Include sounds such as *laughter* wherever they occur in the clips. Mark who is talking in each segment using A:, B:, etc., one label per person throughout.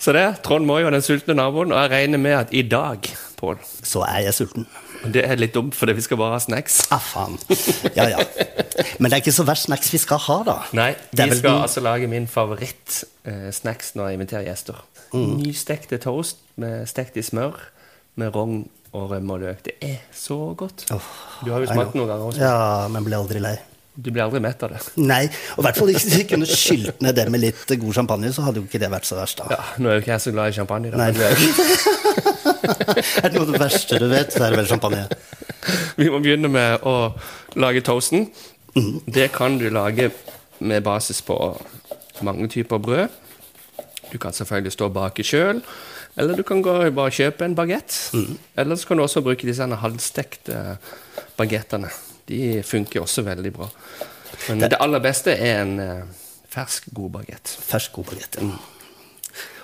A: Så det, Trond Moi og den sultne naboen. Og jeg regner med at i dag, Pål
B: Så er jeg sulten.
A: Det er litt dumt, fordi vi skal bare ha snacks.
B: Ah, faen. Ja, ja. Men det er ikke så verst snacks vi skal ha, da.
A: Nei,
B: Det
A: vi
B: er vel
A: skal
B: den-
A: altså lage min favoritt-snacks når jeg inviterer gjester.
B: Mm.
A: Nystekte toast med stekt i smør med rogn og rømme og løk. Det er så godt.
B: Åh,
A: Du har jo
B: I
A: smakt
B: know.
A: noen ganger også.
B: Ja, men ble aldri lei.
A: Du blir aldri mett av det.
B: Nei, og i hvert fall ikke hvis vi kunne skylt ned det med litt god champagne, så hadde jo ikke det vært så verst, da.
A: Ja, nå er jo ikke jeg så glad i champagne. Da.
B: Nei.
A: men det-
B: *laughs* Er det noe av det verste du vet, så er det vel champagne.
A: Vi må begynne med å lage toasten. Det kan du lage med basis på mange typer brød. Du kan selvfølgelig stå og bake sjøl, eller du kan gå og bare kjøpe en bagett. Eller så kan du også bruke disse her halvstekte bagettene. De funker også veldig bra. Men det, aller beste er en eh, fersk, god bagett.
B: Fersk, god baguette.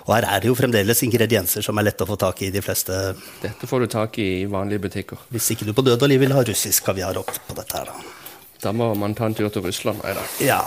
B: Og her er det jo fremdeles ingredienser som er lette å få tak i i de fleste
A: Dette får du tak i i vanlige butikker.
B: Hvis ikke du på død og liv vil ha russisk kaviar opp på dette her, da.
A: Da må man ta en tur til Russland. Nei da.
B: Ja,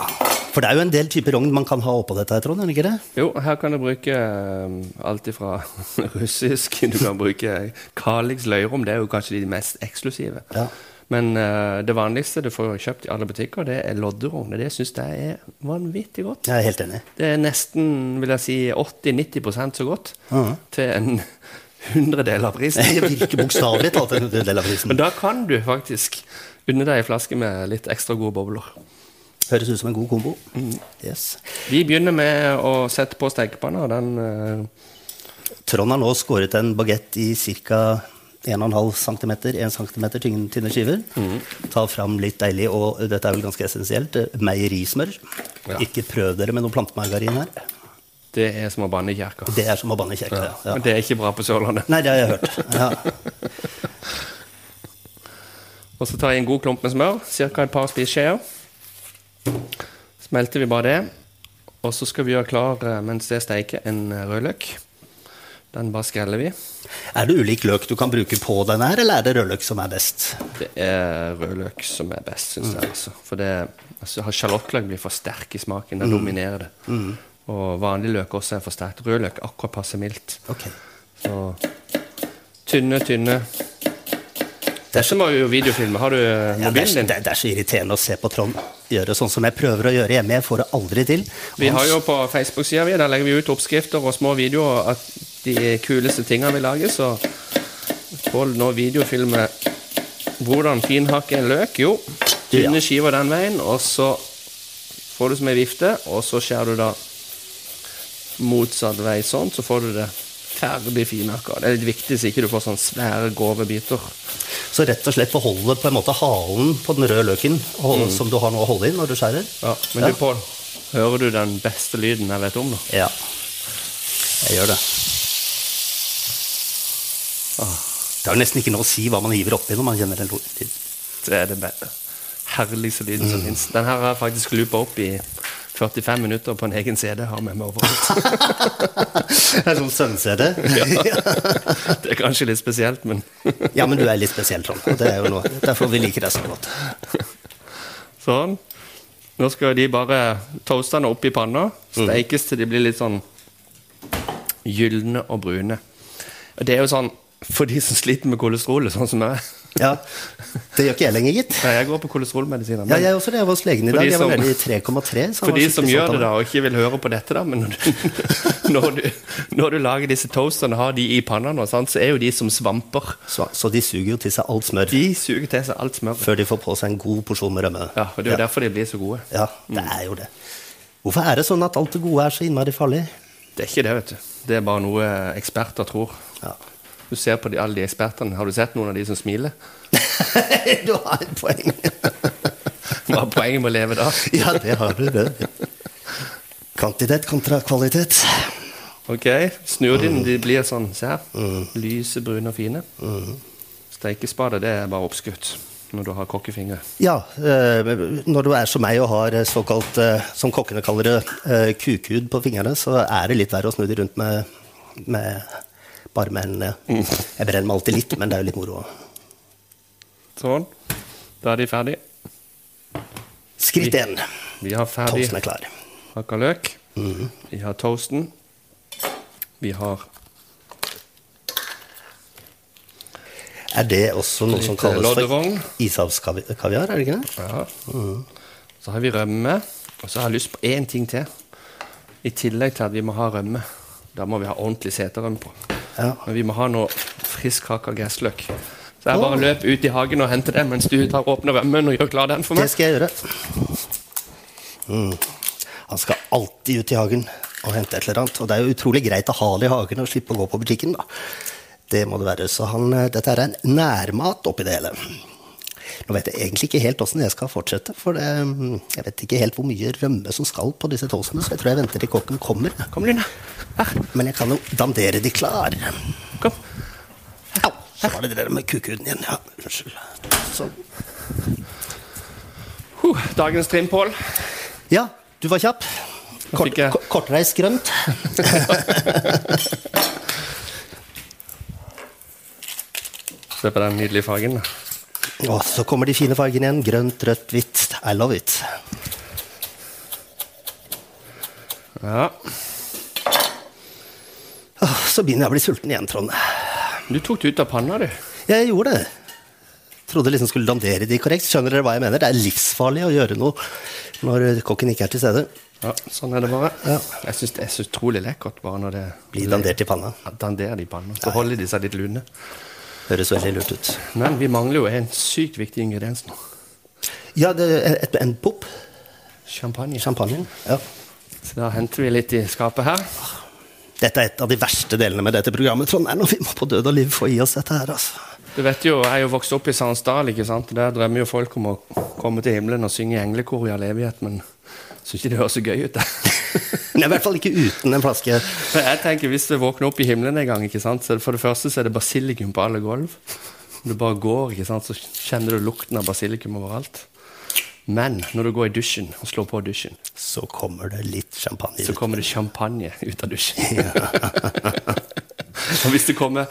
B: For det er jo en del typer rogn man kan ha oppå dette, her, Trond? er det ikke det?
A: Jo, her kan du bruke um, alt ifra *laughs* russisk Du kan bruke Kalix løyrom, det er jo kanskje de mest eksklusive.
B: Ja.
A: Men eh, det vanligste du får kjøpt i alle butikker, det er lodderogn. og Det syns jeg er vanvittig godt.
B: Jeg er helt enig.
A: Det er nesten vil jeg si, 80-90 så godt
B: Mhm.
A: til en *laughs* hundredel av
B: *laughs*
A: prisen.
B: Det virker bokstavelig talt en del av prisen.
A: Men da kan du faktisk unne deg en flaske med litt ekstra gode bobler.
B: Høres ut som en god kombo. Yes.
A: Vi begynner med å sette på stekepanna. og Den eh,
B: Trond har nå skåret en bagett i ca. 1,5 cm, 1 cm tynne, tynne skiver. Ta fram litt deilig, og dette er vel ganske essensielt, eh, meierismør.
A: Ja.
B: Ikke prøv dere med noe plantemargarin her.
A: det er som å banne i kjerka.
B: Det er som å banne kjekk. Ja. Ja.
A: Men det er ikke bra på Sørlandet.
B: Nei, det har jeg hørt. Ja.
A: Og så tar jeg en god klump med smør, ca. et par spiseskjeer. Smelter vi bare det. Og så skal vi gjøre klar eh, mens det steiker, en eh, rødløk. Den bare skreller vi.
B: Er det ulik løk du kan bruke på den her, eller er det rødløk som er best?
A: Det er rødløk som er best, syns
B: Mm.
A: jeg. altså. For det, altså, har sjalottløk blir for sterk i smaken.
B: Mm.
A: Den dominerer det. Og vanlig løk også er for sterkt. Rødløk akkurat passe mildt.
B: Ok.
A: Så tynne, tynne. Dette må vi jo videofilme. Har du eh,
B: Ja, det, er,
A: mobilen din?
B: det, er- det er så irriterende å se på Trond gjøre sånn som jeg prøver å gjøre hjemme. Jeg får det aldri til.
A: Vi
B: Han
A: har jo på Facebook-sida vi, der legger vi ut oppskrifter og små videoer av de kuleste tingene vi lager, så Pål nå videofilmer hvordan finhakke en løk. Jo,
B: Ja.
A: tynne skiver den veien, og så får du som ei vifte, og så skjærer du da motsatt vei sånn, så får du det ferdig finhakka. Det er litt viktig så ikke du får sånne svære, grove biter.
B: Så rett og slett beholde på en måte halen på den røde løken og, som du har nå å holde i når Mm. du skjærer?
A: Ja, men du, Pål, hører du den beste lyden jeg vet om, da?
B: Ja. Jeg gjør det. Åh. Det er jo nesten ikke noe å si hva man hiver oppi når man kjenner en lo- lyd.
A: eh, Det er den be- herligste lyden som fins. Den her har jeg faktisk loopa opp i 45 minutter på en egen CD. Har med meg overalt.
B: *laughs* Det er sånn søvnsede.
A: *laughs* Det er kanskje litt spesielt, men
B: ja, men du er litt spesiell, Trond. Og det er jo noe. Derfor vi liker deg så godt.
A: sånn. Nå skal de bare toaste den opp i panna. Steikes til de blir litt sånn gylne og brune. Og det er jo sånn for de som sliter med kolesterolet, sånn som jeg.
B: Ja, Det gjør ikke jeg lenger, gitt.
A: Nei, jeg går på kolesterolmedisiner.
B: Ja,
A: men-
B: jeg også det. Jeg var hos legen i
A: For
B: dag.
A: de
B: Jeg var
A: som-
B: nede i 3,3. så han
A: For
B: var
A: de som
B: skikkelig stolt
A: gjør
B: av
A: det
B: meg.
A: da og ikke vil høre på dette, da, men når du, *laughs* når du, når du lager disse toastene og har de i panna, nå, sant, så er jo de som svamper.
B: Så, så de suger jo til seg alt smør
A: De suger til seg alt smøret.
B: før de får på seg en god porsjon med rømme.
A: Ja, og Det er jo derfor de blir så gode.
B: Ja, det er jo det. Hvorfor er det sånn at alt det gode er så innmari farlig?
A: Det er ikke det, vet du. Det er bare noe eksperter tror.
B: Ja. *laughs*
A: Du ser på de, alle de ekspertene. Har du sett noen av de som smiler? *laughs*
B: du har et poeng.
A: Hva er poenget med å leve da?
B: ja, det har du, det. Kvantitet kontra kvalitet.
A: Ok, Snur de den, de blir sånn. Se her. Lyse, brune og fine. Mm. Steikespade, det er bare oppskutt når du har kokkefingre.
B: Ja, eh, når du er som meg og har eh, såkalt, eh, som kokkene kaller det, eh, kukhud på fingrene, så er det litt verre å snu de rundt med, med bare med hendene.
A: Mm.
B: Jeg brenner meg alltid litt, men det er jo litt moro.
A: Sånn. Da er de ferdige.
B: Skritt én.
A: Vi har ferdig
B: Toasten er klar.
A: hakka løk. Vi har toasten. vi har
B: Er det også noe som
A: Litt, eh,
B: kalles
A: lodderogn.
B: for ishavskaviar, er det ikke det?
A: Ja.
B: mm-hmm.
A: Så har vi rømme. Og så har jeg lyst på én ting til. I tillegg til at vi må ha rømme. Da må vi ha ordentlig seterrømme på.
B: Ja.
A: Men vi må ha noe frisk kake og gressløk. Så jeg
B: Åh.
A: bare løp ut i hagen og henter den mens du tar åpner rømmen og gjør klar den for
B: Det
A: meg.
B: skal jeg gjøre. Mm. Han skal alltid ut i hagen og hente et eller annet. Og det er jo utrolig greit å ha det i hagen og slippe å gå på butikken, da. Det må det være. Så han, eh, dette er en nærmat oppi det hele. Nå vet jeg egentlig ikke helt åssen jeg skal fortsette, for det, mm, jeg vet ikke helt hvor mye rømme som skal på disse toastene, så jeg tror jeg venter til kokken kommer.
A: Kom, Lina. Her.
B: Men jeg kan jo dandere de klar.
A: Kom.
B: Au! Så var det det der med kukuden igjen. Ja, unnskyld. Sånn.
A: Huh, dagens trimpål.
B: Ja, du var kjapp. Kort,
A: fikk jeg-
B: ko- kortreist *laughs* grønt.
A: Se på den nydelige fargen. da.
B: Og så kommer de fine fargene igjen. Grønt, rødt, hvitt. I love it.
A: Ja.
B: Åh, Så begynner jeg å bli sulten igjen, Trond.
A: Du tok det ut av panna, du.
B: Jeg gjorde det. Trodde liksom skulle dandere de korrekt. Skjønner dere hva jeg mener? Det er livsfarlig å gjøre noe når kokken ikke er til stede.
A: Ja, sånn er det bare.
B: Ja.
A: Jeg syns det er så utrolig lekkert bare når det
B: Bli dandert i panna.
A: Ja, Danderer de panna. Så holder de seg litt lune.
B: Høres veldig lurt ut.
A: Men vi mangler jo en sykt viktig ingrediens nå.
B: Ja, det er et, en pop.
A: Champagne.
B: Champagnen. Ja.
A: Så da henter vi litt i skapet her.
B: Dette er et av de verste delene med dette programmet, Trond. Det er når vi må på død og liv få i oss dette her, altså.
A: Du vet jo, Jeg er jo vokst opp i Sandsdal. ikke sant? Der drømmer jo folk om å komme til himmelen og synge i englekor i all evighet, men jeg syns ikke det høres så gøy
B: *laughs*
A: ut. det.
B: Men jeg er i hvert fall ikke uten en flaske.
A: Men *laughs* jeg tenker, Hvis du våkner opp i himmelen en gang, ikke sant? så er det- for det første så er det basilikum på alle gulv. Når du bare går, ikke sant? så kjenner du lukten av basilikum overalt. Men når du går i dusjen og slår på dusjen,
B: Så kommer det litt champagne.
A: så kommer det champagne ut av
B: *laughs*
A: dusjen. *laughs* Og hvis det kommer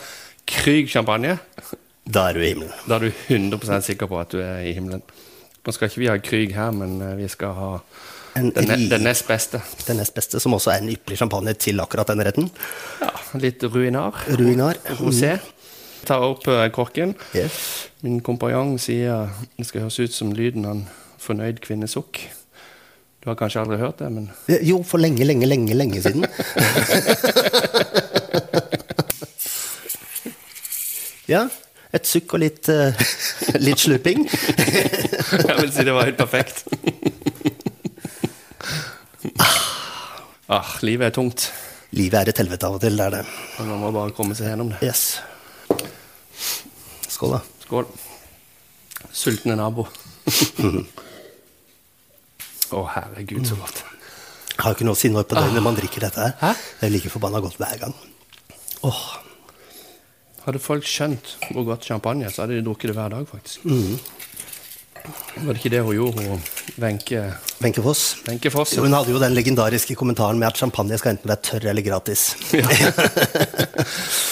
A: Krüg champagne,
B: Da er du i himmelen.
A: da er du 100 sikker på at du er i himmelen. Nå skal ikke vi ha Krüg her, men eh, vi skal ha
B: En
A: den, ne
B: ri-
A: den nest beste.
B: Den nest beste, som også er en ypperlig champagne til akkurat den retten.
A: Ja, litt ruinar.
B: Ruinar.
A: Rosé. Tar opp eh, korken.
B: Yes.
A: Min kompanjong sier det skal høres ut som lyden av en fornøyd kvinnesukk. Du har kanskje aldri hørt det, men
B: Eh, Jo, for lenge, lenge, lenge, lenge *laughs* siden. ja. Et sukk og litt, eh, litt slurping.
A: *laughs* jeg vil si det var helt perfekt. Ah, livet er tungt.
B: Livet er et helvete av og til, det er det.
A: men Man må bare komme seg gjennom det.
B: Yes. Skål, da.
A: Skål. Sultne nabo. *laughs* Å, herregud, så godt.
B: Har ikke noe å si når på døgnet når man drikker dette her.
A: Hæ?
B: Det er like forbanna godt hver gang. Åh,
A: Hadde folk skjønt hvor godt champagne er, så hadde de drukket det hver dag, faktisk. Var det ikke det hun gjorde, hun Wenche
B: Wenche Foss.
A: Wenche Foss?
B: Jo, hun hadde jo den legendariske kommentaren med at champagne skal enten være tørr eller gratis.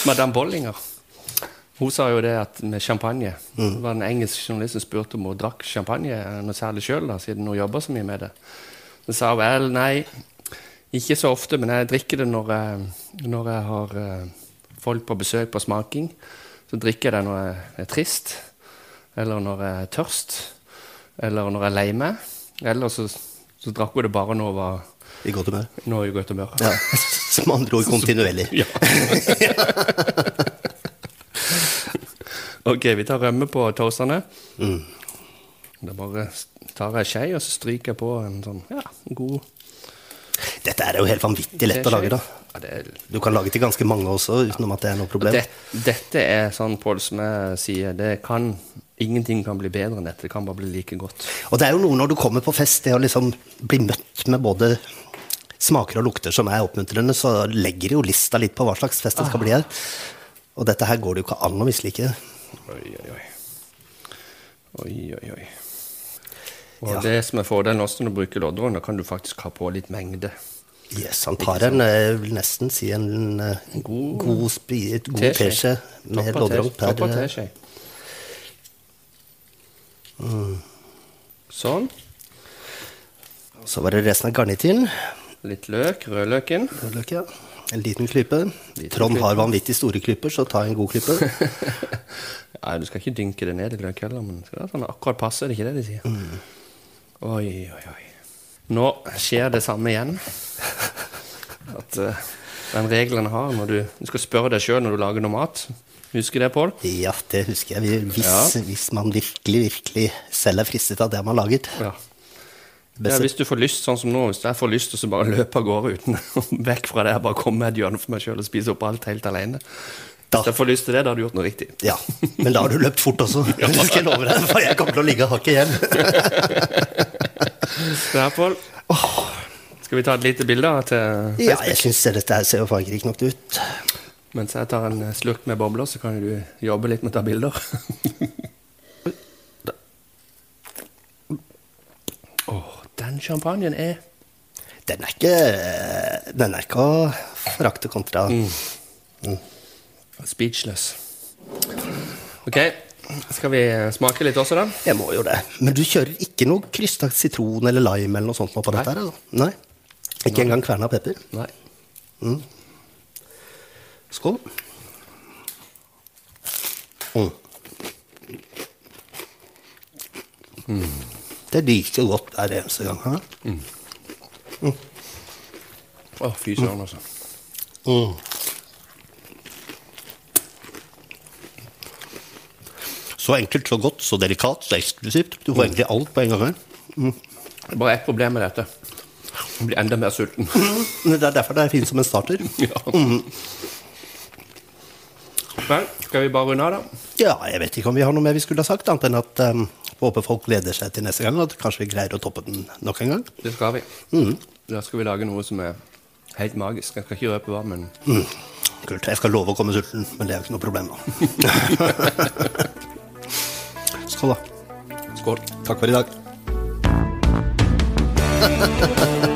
A: Madame Bollinger. Hun sa jo det at med champagne Det var en engelsk journalist som spurte om hun drakk champagne eh, noe særlig sjøl, siden hun jobber så mye med det. Så sa hun vel, nei, ikke så ofte, men jeg drikker det når jeg, når jeg har eh, folk på besøk på smaking. Så drikker jeg det når jeg er trist, eller når jeg er tørst, eller når jeg er lei meg. Eller så, så drakk hun det bare når hun var
B: I godt humør.
A: når hun var i godt humør. *laughs*
B: Ja. Som andre ord kontinuerlig.
A: Ja. ok, vi tar rømme på toastene.
B: Mm.
A: Da bare tar jeg skei, og så stryker jeg på en sånn ja, god
B: Dette er jo helt vanvittig lett å lage, da.
A: Ja, det er,
B: Du kan lage til ganske mange også, utenom at det er noe problem.
A: det, dette er sånn Pål som jeg sier, det kan Ingenting kan bli bedre enn dette. Det kan bare bli like godt.
B: Og det er jo noe når du kommer på fest, det å liksom bli møtt med både smaker og lukter som er oppmuntrende, så legger jo lista litt på hva slags fest det skal bli her. Og dette her går det jo ikke an å mislike.
A: Oi, oi, oi. Oi, oi, oi. Og
B: Ja.
A: det som er fordelen også når du bruker lodderen, da kan du faktisk ha på litt mengde.
B: Yes, han tar en, eh, vil nesten si en eh,
A: God-
B: god, spi- et god
A: Teskje.
B: teskje med
A: Toppa
B: loddrogn
A: tes-
B: per eh,
A: toppa teskje.
B: Mm.
A: Sånn.
B: Så var det resten av garnityren.
A: Litt løk. Rødløken. *laughs*
B: Rødløk, ja. En liten klype.
A: Liten
B: Trond
A: klype.
B: har vanvittig store klyper, så ta en god
A: *laughs*
B: klype.
A: Nei, du skal ikke dynke det ned i løk heller, men det skal være sånn akkurat passe, er det ikke det de sier? Oi, oi, oi. Nå skjer det samme igjen. *laughs* At eh, den regelen jeg har når du, du skal spørre deg sjøl når du lager noe mat. Husker det, Pål?
B: Ja, det husker jeg. Vi- Hvis, hvis man virkelig, virkelig selv er fristet av det man laget.
A: Ja. ja.
B: Best-
A: Hvis du får lyst, sånn som nå, hvis jeg får lyst til å bare løpe av gårde uten *laughs* vekk fra det, jeg bare komme med et hjørne for meg sjøl og spise opp alt helt aleine.
B: Da.
A: Hvis jeg får lyst til det, da har du gjort noe riktig.
B: Ja, men da har du løpt fort også. Det skal *laughs* jeg love deg, for jeg kommer til å ligge hakket
A: *laughs*
B: igjen.
A: Det her, Pål. Skal vi ta et lite bilde av til
B: Ja, jeg syns dette her ser jo fargerikt nok ut.
A: Mens jeg tar en slurk med bobler, så kan du jobbe litt med å ta bilder. *laughs* Åh, den champagnen er
B: Den er ikke, den er ikke å forakte kontra
A: Mm. speechless. Ok, skal vi smake litt også, da?
B: Jeg må jo det. Men du kjører ikke noe krystakt sitron eller lime eller noe sånt nå på
A: Nei.
B: dette her? Altså. Nei. Ikke engang kverna pepper?
A: Nei.
B: Skål. Mm. Mm. Det er like godt hver eneste gang. Hæ?
A: Å, fy søren, altså.
B: Mm. Så enkelt, så godt, så delikat, så eksklusivt. Du får egentlig alt på en gang her.
A: Det er bare ett problem med dette. Jeg blir enda mer sulten. *laughs*
B: Men Det er derfor det er fint som en starter.
A: ja. Vel, skal vi bare runde av, da?
B: Ja, jeg vet ikke om vi har noe mer vi skulle ha sagt, annet enn at um, håper folk gleder seg til neste gang, og at kanskje vi greier å toppe den nok en gang.
A: Det skal vi. Da skal vi lage noe som er helt magisk. Jeg skal ikke røpe hva, men
B: Kult. Jeg skal love å komme sulten, men det er jo ikke noe problem. da. Skål, da.
A: skål.
B: Takk for i dag.